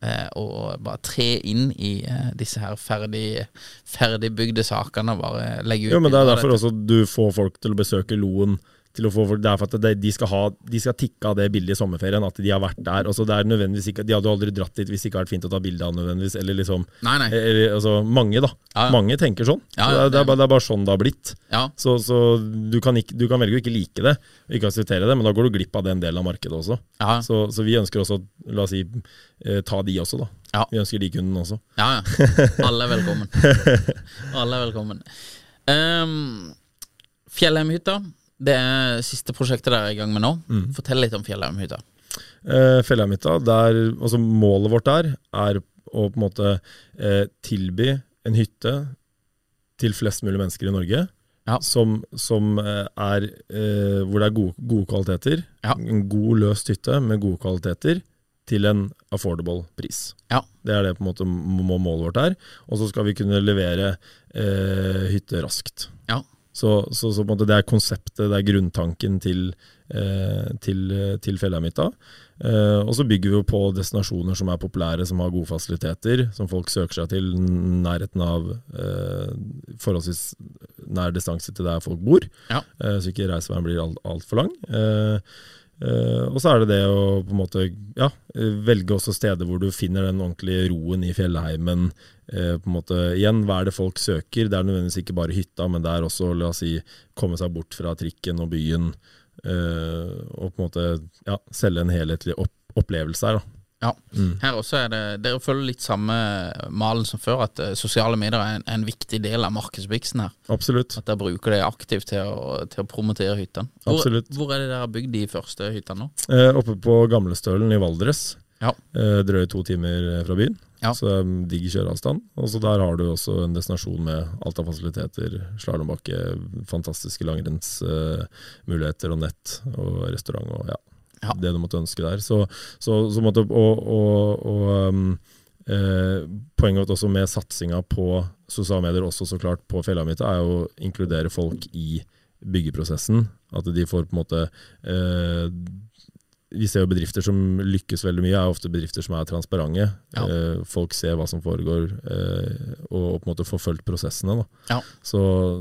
[SPEAKER 4] eh, og bare tre inn i eh, disse her ferdig, ferdigbygde sakene. Bare legge ut
[SPEAKER 3] Jo, men Det
[SPEAKER 4] bilder
[SPEAKER 3] er
[SPEAKER 4] av
[SPEAKER 3] derfor
[SPEAKER 4] dette.
[SPEAKER 3] også du får folk til å besøke Loen. Til å få folk, det er for at det- de skal, ha, de skal tikke av det bildet i sommerferien, at de har vært der. Altså, det er nødvendigvis ikke, de hadde jo aldri dratt dit hvis det ikke hadde vært fint å ta bilde av nødvendigvis. Eller liksom,
[SPEAKER 4] Nei, nei.
[SPEAKER 3] Eller, altså, mange, da.
[SPEAKER 4] Ja, ja.
[SPEAKER 3] Mange tenker sånn.
[SPEAKER 4] Ja,
[SPEAKER 3] Så
[SPEAKER 4] ja,
[SPEAKER 3] det, er- det,
[SPEAKER 4] det-
[SPEAKER 3] er bare, det er bare sånn det har blitt.
[SPEAKER 4] Ja.
[SPEAKER 3] Så, så du, kan ikke, du kan velge å ikke like det, og ikke akseptere det, men da går du glipp av den delen av markedet også.
[SPEAKER 4] Ja.
[SPEAKER 3] Så, så vi ønsker også, la oss si, eh, ta de også, da.
[SPEAKER 4] Ja.
[SPEAKER 3] Vi ønsker de kundene også.
[SPEAKER 4] Ja, ja. Alle er
[SPEAKER 3] <laughs>
[SPEAKER 4] velkommen. Alle er velkommen. Um, Fjellheimhytta. Det er siste prosjektet dere er i gang med nå.
[SPEAKER 3] Mm.
[SPEAKER 4] Fortell litt om Fjellheimhytta.
[SPEAKER 3] Eh, Fjellheimhytta, der altså målet vårt der er å på en måte eh, tilby en hytte til flest mulig mennesker i Norge.
[SPEAKER 4] Ja.
[SPEAKER 3] Som, som eh, er eh, Hvor det er gode, gode kvaliteter.
[SPEAKER 4] Ja.
[SPEAKER 3] En god, løst hytte med gode kvaliteter til en affordable pris.
[SPEAKER 4] Ja.
[SPEAKER 3] Det er det på en måte må- må- målet vårt er. Og så skal vi kunne levere eh, hytte raskt.
[SPEAKER 4] Ja.
[SPEAKER 3] Så, så, så på en måte det er konseptet, det er grunntanken til, eh, til, til Fjellheimhytta. Eh, og så bygger vi jo på destinasjoner som er populære, som har gode fasiliteter, som folk søker seg til n- nærheten av eh, forholdsvis nær distanse til der folk bor.
[SPEAKER 4] Ja.
[SPEAKER 3] Eh, så ikke reiseveien blir alt- altfor lang. Eh, eh, og så er det det å på en måte ja, eh, velge også steder hvor du finner den ordentlige roen i fjellheimen. Eh, på en måte, igjen, hva er det folk søker? Det er nødvendigvis ikke bare hytta, men det er også la oss si, komme seg bort fra trikken og byen. eh, og på en måte ja, selge en helhetlig opp opplevelse her. Da.
[SPEAKER 4] Ja. Her også er det Dere følger litt samme malen som før, at eh, sosiale medier er en, er en viktig del av markedsmiksen her.
[SPEAKER 3] Absolutt.
[SPEAKER 4] At dere bruker det aktivt til å, til å promotere hyttene. Hvor,
[SPEAKER 3] Absolutt.
[SPEAKER 4] hvor er det dere har bygd de første hyttene nå?
[SPEAKER 3] Eh, oppe på Gamlestølen i Valdres.
[SPEAKER 4] Ja.
[SPEAKER 3] Eh, drøye to timer fra byen.
[SPEAKER 4] Ja.
[SPEAKER 3] Så det er en digg kjøreavstand. Og så der har du også en destinasjon med alt av fasiliteter. Slalåmbakke, fantastiske langrennsmuligheter eh, og nett og restaurant og ja,
[SPEAKER 4] Ja.
[SPEAKER 3] det du måtte ønske der. Så, så, så måtte, og, og, og um, eh, poenget vårt også med satsinga på sosiale medier, også så klart på Fjellhamita, er jo å inkludere folk i byggeprosessen. At de får på en måte eh, vi ser jo bedrifter som lykkes veldig mye, er ofte bedrifter som er transparente.
[SPEAKER 4] Ja.
[SPEAKER 3] Eh, folk ser hva som foregår, eh, og på en måte får fulgt prosessene. Da.
[SPEAKER 4] Ja.
[SPEAKER 3] Så,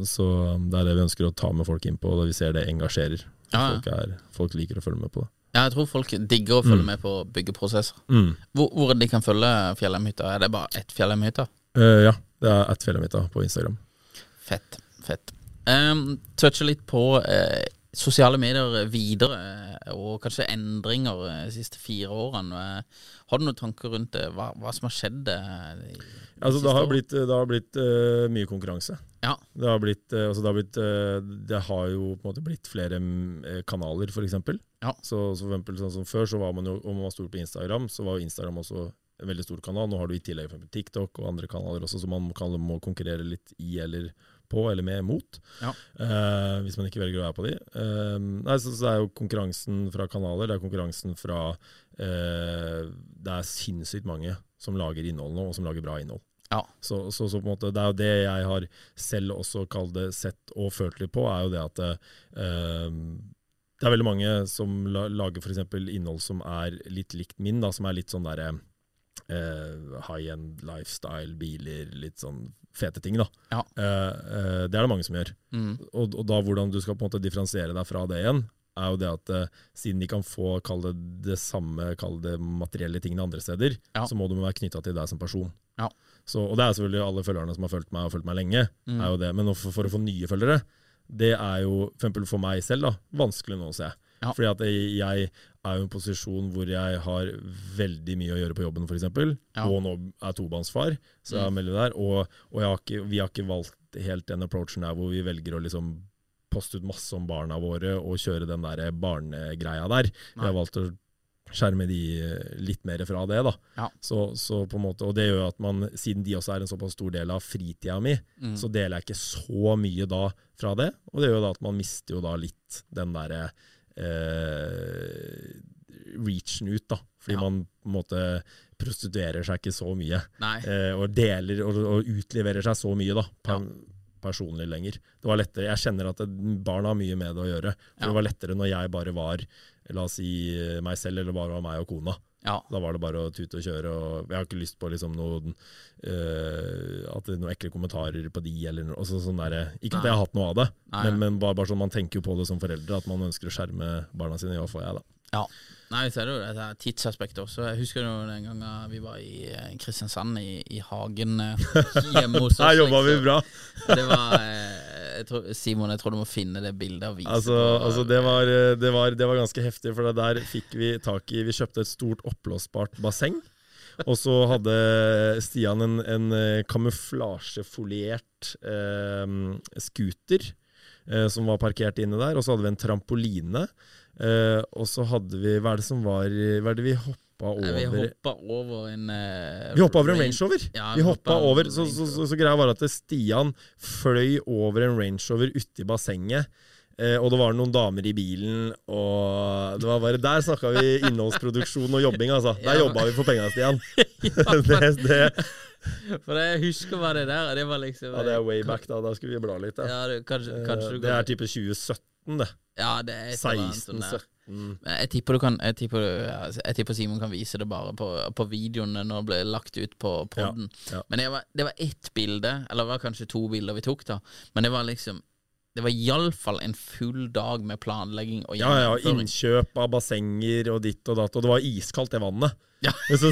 [SPEAKER 3] så um, det er det vi ønsker å ta med folk inn på, da vi ser det engasjerer.
[SPEAKER 4] Ja, ja.
[SPEAKER 3] Folk, er, folk liker å følge med på det.
[SPEAKER 4] Ja, jeg tror folk digger å følge med på byggeprosesser.
[SPEAKER 3] Mm.
[SPEAKER 4] Hvor, hvor de kan følge Fjellheimhytta? Er det bare ett Fjellheimhytta?
[SPEAKER 3] Eh, ja, det er at fjellet mitt da, på Instagram.
[SPEAKER 4] Fett. fett. Um, Touche litt på eh, sosiale medier videre, eh, og kanskje endringer eh, de siste fire årene. Eh, Har du noen tanker rundt det? Hva, hva som har skjedd? eh, i- de
[SPEAKER 3] Altså,
[SPEAKER 4] siste
[SPEAKER 3] det har
[SPEAKER 4] årene?
[SPEAKER 3] blitt, det har blitt eh, mye konkurranse.
[SPEAKER 4] Ja.
[SPEAKER 3] Det har, blitt, eh, altså det, har blitt, eh, det har jo på en måte blitt flere mm, eh, kanaler, f.eks.
[SPEAKER 4] Ja.
[SPEAKER 3] Så, så for eksempel, sånn som før, så var man jo, om man var stor på Instagram, så var jo Instagram også en veldig stor kanal. Nå har du i tillegg for eksempel TikTok og andre kanaler også, så man kan, må konkurrere litt i eller på eller med mot,
[SPEAKER 4] Ja.
[SPEAKER 3] eh, hvis man ikke velger å være på de. Eh, nei, så, så det er jo konkurransen fra kanaler, det er konkurransen fra eh, Det er sinnssykt mange som lager innhold nå, og som lager bra innhold.
[SPEAKER 4] Ja.
[SPEAKER 3] Så, så, så på en måte, det er jo det jeg har selv også kalt det sett og følt litt på, er jo det at eh, det er veldig mange som la- lager f.eks. innhold som er litt likt min, da, som er litt sånn derre eh, high end lifestyle, biler, litt sånn fete ting, da.
[SPEAKER 4] Ja.
[SPEAKER 3] Eh, eh, det er det mange som gjør.
[SPEAKER 4] Mm.
[SPEAKER 3] Og, og da hvordan du skal på en måte differensiere deg fra det igjen, er jo det at eh, siden de kan få kall det, det samme kall det materielle tingene andre steder,
[SPEAKER 4] Ja.
[SPEAKER 3] så må de være knytta til deg som person.
[SPEAKER 4] Ja.
[SPEAKER 3] Så, og det er selvfølgelig alle følgerne som har fulgt meg og fulgt meg lenge.
[SPEAKER 4] Mm.
[SPEAKER 3] er jo det. Men å få- for, å få nye følgere, det er jo for eksempel for meg selv da, vanskelig nå, ser jeg.
[SPEAKER 4] Ja.
[SPEAKER 3] Fordi at jeg, jeg er jo i en posisjon hvor jeg har veldig mye å gjøre på jobben, f.eks.
[SPEAKER 4] Ja. Mm.
[SPEAKER 3] Og nå er tobarnsfar, så jeg er mellom der. Og, og jeg har ikke, vi har ikke valgt helt den approachen der hvor vi velger å liksom poste ut masse om barna våre og kjøre den der barnegreia der. Jeg har valgt å skjerme de eh, litt mer fra det, da.
[SPEAKER 4] Ja.
[SPEAKER 3] Så, så på en måte, og det gjør at man, siden de også er en såpass stor del av fritida mi,
[SPEAKER 4] Mm.
[SPEAKER 3] så deler jeg ikke så mye da fra det. Og det gjør da at man mister jo da litt den derre eh, reachen ut, da. Fordi
[SPEAKER 4] Ja.
[SPEAKER 3] man på en måte prostituerer seg ikke så mye.
[SPEAKER 4] Nei.
[SPEAKER 3] Eh, og deler og, og utleverer seg så mye, da. Per,
[SPEAKER 4] Ja.
[SPEAKER 3] Personlig lenger. Det var lettere. Jeg kjenner at det- barna har mye med det å gjøre. For
[SPEAKER 4] Ja.
[SPEAKER 3] Det var lettere når jeg bare var la oss si eh, meg selv, eller bare var meg og kona.
[SPEAKER 4] Ja.
[SPEAKER 3] Da var det bare å tute og kjøre. Og jeg har ikke lyst på liksom noen eh, At det er noen ekle kommentarer på de, eller noe. Også sånn der, ikke at jeg har hatt noe av det,
[SPEAKER 4] Nei,
[SPEAKER 3] men, men bare, bare sånn man tenker jo på det som foreldre, at man ønsker å skjerme barna sine. Ja, får jeg, da.
[SPEAKER 4] Ja. Nei, så er det jo dette tidsaspektet også. Jeg husker jo den gangen vi var i eh, Kristiansand, i, i hagen eh, hjemme
[SPEAKER 3] <laughs>
[SPEAKER 4] hos oss.
[SPEAKER 3] Her jobba vi
[SPEAKER 4] liksom.
[SPEAKER 3] bra!
[SPEAKER 4] Det var, eh, jeg tror, Simon, jeg tror du må finne det bildet og vise.
[SPEAKER 3] Altså,
[SPEAKER 4] på-
[SPEAKER 3] altså det, var, eh, det, var, det var ganske heftig, for det der fikk vi tak i Vi kjøpte et stort oppblåsbart basseng. Og så hadde Stian en, en eh, kamuflasjefoliert eh, scooter eh, som var parkert inne der. Og så hadde vi en trampoline. Eh, og så hadde vi Hva er det som var Hva er det vi hoppa
[SPEAKER 4] Nei, Vi
[SPEAKER 3] over?
[SPEAKER 4] hoppa over en eh,
[SPEAKER 3] Vi hoppa over en
[SPEAKER 4] Range-
[SPEAKER 3] Range Rover.
[SPEAKER 4] Ja,
[SPEAKER 3] vi hoppa
[SPEAKER 4] hoppet
[SPEAKER 3] over,
[SPEAKER 4] en
[SPEAKER 3] så,
[SPEAKER 4] Range
[SPEAKER 3] så, så,
[SPEAKER 4] Rover.
[SPEAKER 3] så greia var at Stian fløy over en Range Rover uti bassenget. Eh, og det var noen damer i bilen, og det var bare Der snakka vi innholdsproduksjon og jobbing, altså. Der
[SPEAKER 4] Ja.
[SPEAKER 3] jobba vi for penga,
[SPEAKER 4] <laughs>
[SPEAKER 3] Stian. <laughs> det, det,
[SPEAKER 4] For det, jeg husker hva det der Det var liksom
[SPEAKER 3] ja, det er way back, da. Da skulle vi bla litt. Da.
[SPEAKER 4] Ja, det, kanskje,
[SPEAKER 3] Eh,
[SPEAKER 4] kanskje du
[SPEAKER 3] det
[SPEAKER 4] kan-
[SPEAKER 3] er type 2017, det.
[SPEAKER 4] ja, det er et eller annet sånn der.
[SPEAKER 3] 16-17.
[SPEAKER 4] Men Jeg tipper, du kan, jeg, tipper, ja, jeg tipper Simon kan vise det bare på, på videoene når det ble lagt ut på podden.
[SPEAKER 3] ja.
[SPEAKER 4] Men det var, det var ett bilde, eller det var kanskje to bilder vi tok, da. Men det var liksom Det var iallfall en full dag med planlegging
[SPEAKER 3] Ja,
[SPEAKER 4] og
[SPEAKER 3] ja, og
[SPEAKER 4] gjennomføring.
[SPEAKER 3] innkjøp av bassenger og ditt og datt, og det var iskaldt, det vannet.
[SPEAKER 4] Ja.
[SPEAKER 3] <laughs>
[SPEAKER 4] <laughs>
[SPEAKER 3] Så,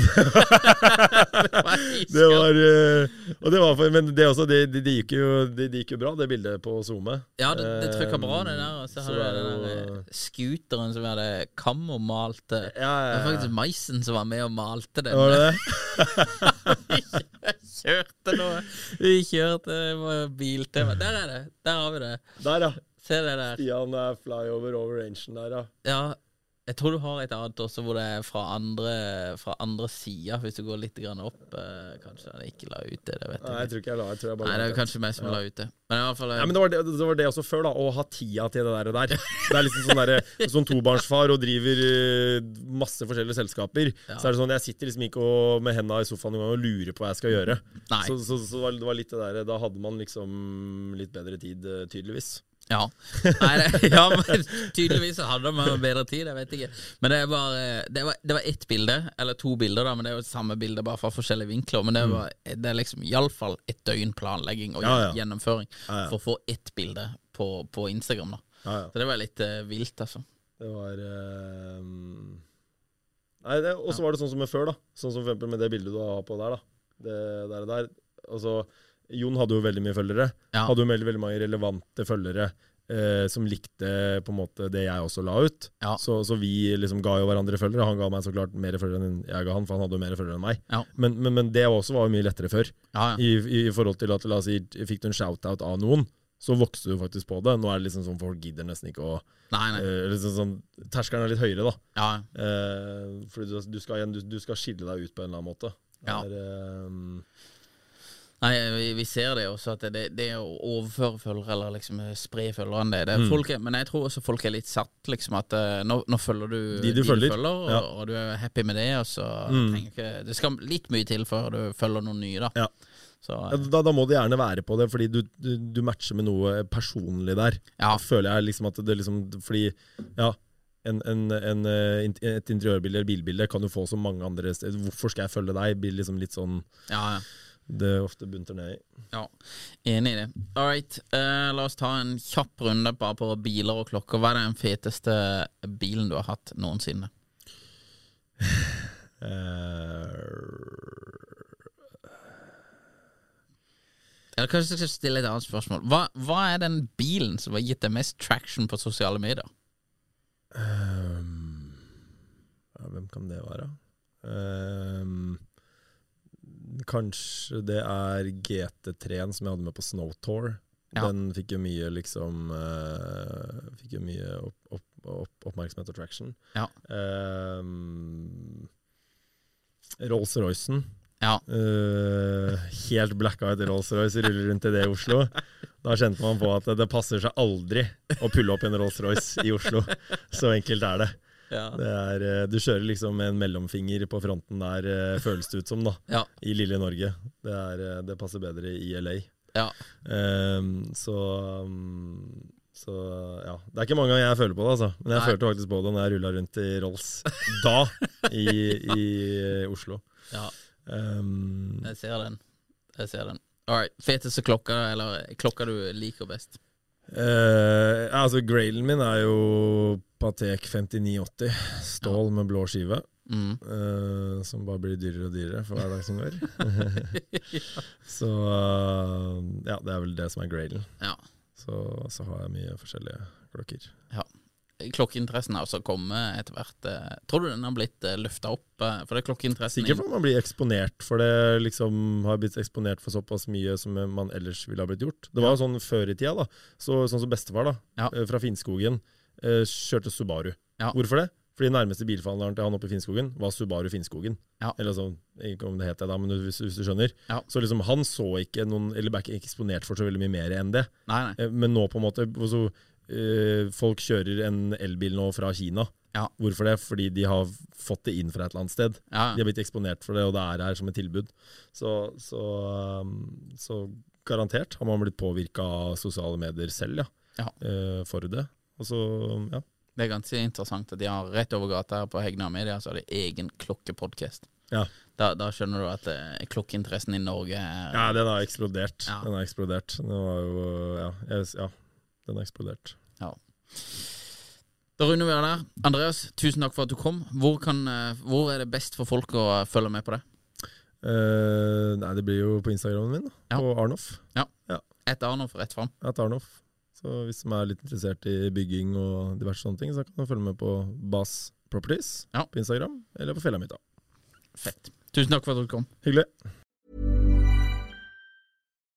[SPEAKER 3] Det var, eh, og det var for, men det, også, det, det, det, gikk jo, det, det gikk jo bra, det bildet på SoMe.
[SPEAKER 4] Ja, det, det trykka bra, det der.
[SPEAKER 3] Eh,
[SPEAKER 4] Og så
[SPEAKER 3] så
[SPEAKER 4] hadde
[SPEAKER 3] det
[SPEAKER 4] du
[SPEAKER 3] er
[SPEAKER 4] den
[SPEAKER 3] jo-
[SPEAKER 4] der eh, scooteren som vi hadde kammermalte.
[SPEAKER 3] Ja, ja,
[SPEAKER 4] Det
[SPEAKER 3] ja.
[SPEAKER 4] var faktisk Meisen som var med og malte den.
[SPEAKER 3] Var det det?
[SPEAKER 4] <laughs> Vi <laughs> kjørte noe. Vi kjørte det var biltema. Der er det. Der har vi det.
[SPEAKER 3] <laughs> Der, ja.
[SPEAKER 4] Se det der.
[SPEAKER 3] Stian er flyover over rangen der, ja.
[SPEAKER 4] Ja, jeg tror du har et annet også hvor det er fra andre, fra andre sida, hvis du går litt grann opp. eh, Kanskje han ikke la ut det, det vet
[SPEAKER 3] Nei, jeg
[SPEAKER 4] jeg ikke.
[SPEAKER 3] tror ikke jeg la jeg tror jeg bare la
[SPEAKER 4] Nei, det er
[SPEAKER 3] det.
[SPEAKER 4] jo kanskje meg som la ut det. Men i hvert fall eh,
[SPEAKER 3] Nei, men det var det, det var det også før, da. Å ha tida til det der. og der. Det er liksom sånn,
[SPEAKER 4] <laughs>
[SPEAKER 3] derre- sånn tobarnsfar og driver eh, masse forskjellige selskaper. Så er det sånn, Jeg sitter liksom ikke og, med henda i sofaen noen gang og lurer på hva jeg skal gjøre.
[SPEAKER 4] Nei.
[SPEAKER 3] Så, så, så det var- det var litt det der, Da hadde man liksom litt bedre tid, eh, tydeligvis.
[SPEAKER 4] Ja. Nei, det, <laughs> ja, men tydeligvis så hadde man bedre tid, jeg vet ikke. Men det, er bare, det, var, det var ett bilde, eller to bilder, da, men det er jo samme bilde, bare fra forskjellige vinkler. Men det, var, det er liksom iallfall et døgn planlegging
[SPEAKER 3] Mm.
[SPEAKER 4] og
[SPEAKER 3] Ja, ja.
[SPEAKER 4] gjennomføring
[SPEAKER 3] Ja, ja.
[SPEAKER 4] for å få ett bilde på, på Instagram. da
[SPEAKER 3] Ja, ja.
[SPEAKER 4] Så det var litt eh, vilt, altså.
[SPEAKER 3] Det var eh, Nei, det, og så var det sånn som med før, da. Sånn som for eksempel med det bildet du har på der, da. Det der og der. Altså, Jon hadde jo veldig mye følgere.
[SPEAKER 4] Ja.
[SPEAKER 3] Hadde jo veldig, veldig mange relevante følgere eh, som likte på en måte det jeg også la ut.
[SPEAKER 4] Ja.
[SPEAKER 3] Så, så vi liksom ga jo hverandre følgere. Han ga meg så klart mer følgere enn jeg ga han, for han hadde jo mer følgere enn meg.
[SPEAKER 4] Ja.
[SPEAKER 3] Men, men, men det også var jo mye lettere før.
[SPEAKER 4] Ja, ja.
[SPEAKER 3] I, i, I forhold til at la oss si, fikk du en shout-out av noen, så vokste du faktisk på det. Nå er det liksom sånn folk gidder nesten ikke å
[SPEAKER 4] Nei, nei.
[SPEAKER 3] Eh, liksom sånn, terskelen er litt høyere, da.
[SPEAKER 4] Ja, ja.
[SPEAKER 3] Eh, fordi du, du, skal, igjen- du, du skal skille deg ut på en eller annen måte. Det
[SPEAKER 4] Ja.
[SPEAKER 3] er, eh,
[SPEAKER 4] Nei, vi, vi ser det også, at det, det å overføre følgere, eller liksom spre følgerne, det, det
[SPEAKER 3] Mm.
[SPEAKER 4] er folk er, Men jeg tror også folk er litt satt, liksom, at eh, nå, nå følger du
[SPEAKER 3] De du følger,
[SPEAKER 4] og,
[SPEAKER 3] ja. Mm.
[SPEAKER 4] og du er happy med det, og så trenger ikke Det skal litt mye til før du følger noen nye, da.
[SPEAKER 3] Ja.
[SPEAKER 4] Så, eh,
[SPEAKER 3] ja, da, da må du gjerne være på det, fordi du, du, du matcher med noe personlig der.
[SPEAKER 4] Ja.
[SPEAKER 3] Da Føler jeg liksom at det liksom Fordi, ja. En, en, en, eh, int- et interiørbilde eller bilbilde kan du få så mange andre steder. Hvorfor skal jeg følge deg? Blir liksom litt sånn
[SPEAKER 4] ja, ja.
[SPEAKER 3] det ofte bunter ned i.
[SPEAKER 4] ja. Enig i det. All right, eh, la oss ta en kjapp runde bare på biler og klokker. Hva er den feteste bilen du har hatt noensinne?
[SPEAKER 3] Eh,
[SPEAKER 4] Eller kanskje jeg skal stille et annet spørsmål. Hva, hva er den bilen som har gitt deg mest traction på sosiale medier?
[SPEAKER 3] Ehm, ja, hvem kan det være? Ehm, kanskje det er GT3-en som jeg hadde med på Snow Tour.
[SPEAKER 4] Ja.
[SPEAKER 3] Den fikk jo mye liksom eh, Fikk jo mye opp, opp, opp, oppmerksomhet og traction.
[SPEAKER 4] Ja.
[SPEAKER 3] Ehm, Rolls-Roycen.
[SPEAKER 4] Ja.
[SPEAKER 3] Eh, helt blackout Rolls-Royce ruller rundt i det i Oslo. Da kjente man på at det passer seg aldri å pulle opp en Rolls-Royce i Oslo. Så enkelt er det. det er, eh, du kjører liksom med en mellomfinger på fronten der, eh, føles det ut som, da.
[SPEAKER 4] Ja.
[SPEAKER 3] I lille Norge. Det, er, eh, det passer bedre i LA.
[SPEAKER 4] Ja.
[SPEAKER 3] Ehm, så um, Så ja, Det er ikke mange ganger jeg føler på det, altså. men jeg
[SPEAKER 4] Nei.
[SPEAKER 3] følte faktisk på det når jeg rulla rundt i Rolls da, i, i Oslo.
[SPEAKER 4] Ja,
[SPEAKER 3] Um,
[SPEAKER 4] jeg ser den. Jeg ser den. Alright, Feteste klokka, eller eh, klokka du liker best?
[SPEAKER 3] eh, altså Grailen min er jo Patek 5980, stål med blå skive.
[SPEAKER 4] Mm.
[SPEAKER 3] eh, som bare blir dyrere og dyrere for hver dag som går. så eh, ja, det er vel det som er Grailen.
[SPEAKER 4] Ja.
[SPEAKER 3] Så, så har jeg mye forskjellige klokker.
[SPEAKER 4] Klokkeinteressen har også kommet etter hvert. eh, Tror du den har blitt løfta opp? eh, For det er klokkeinteressen
[SPEAKER 3] Sikkert fordi man blir eksponert for det, liksom har blitt eksponert for såpass mye som man ellers ville ha blitt gjort. Det var jo sånn før i tida, da. Så, sånn som bestefar, da,
[SPEAKER 4] Ja.
[SPEAKER 3] eh, fra Finnskogen, eh, kjørte Subaru.
[SPEAKER 4] Ja.
[SPEAKER 3] Hvorfor det? Fordi nærmeste bilforhandleren til han oppe i Finnskogen var Subaru Finnskogen.
[SPEAKER 4] Ja.
[SPEAKER 3] Eller sånn, ikke om det het det da, men hvis, hvis du skjønner.
[SPEAKER 4] Ja.
[SPEAKER 3] Så liksom han så ikke noen, eller ble ikke eksponert for så veldig mye mer enn det.
[SPEAKER 4] Nei, nei.
[SPEAKER 3] Eh, Men nå på en måte altså, eh, Folk kjører en elbil nå fra Kina.
[SPEAKER 4] Ja.
[SPEAKER 3] Hvorfor det? Fordi de har fått det inn fra et eller annet sted.
[SPEAKER 4] Ja.
[SPEAKER 3] De har blitt eksponert for det, og det er her som et tilbud. Så, så, um, så garantert har man blitt påvirka av sosiale medier selv, ja.
[SPEAKER 4] Ja.
[SPEAKER 3] Eh, for det. Og så, ja.
[SPEAKER 4] Det er ganske interessant at de har rett over gata her på Hegna Media, så har de egen klokkepodkast.
[SPEAKER 3] Ja.
[SPEAKER 4] Da, da skjønner du at eh, klokkeinteressen i Norge er
[SPEAKER 3] ja, den har eksplodert.
[SPEAKER 4] Ja.
[SPEAKER 3] Den har eksplodert. Den var jo Ja. Jeg, ja. Den har eksplodert.
[SPEAKER 4] Ja. Da runder vi av der. Andreas, tusen takk for at du kom. Hvor, kan, eh, hvor er det best for folk å eh, følge med på det?
[SPEAKER 3] Eh, nei, det blir jo på Instagramen min, da.
[SPEAKER 4] Ja.
[SPEAKER 3] På Arnoff.
[SPEAKER 4] Et Arnof rett fram.
[SPEAKER 3] Jeg tar den off. Så hvis de er litt interessert i bygging og diverse sånne ting, så kan de følge med på Bass Properties
[SPEAKER 4] Ja.
[SPEAKER 3] på Instagram, eller på fella mi. da.
[SPEAKER 4] Fett. Tusen takk for at du kom.
[SPEAKER 3] Hyggelig.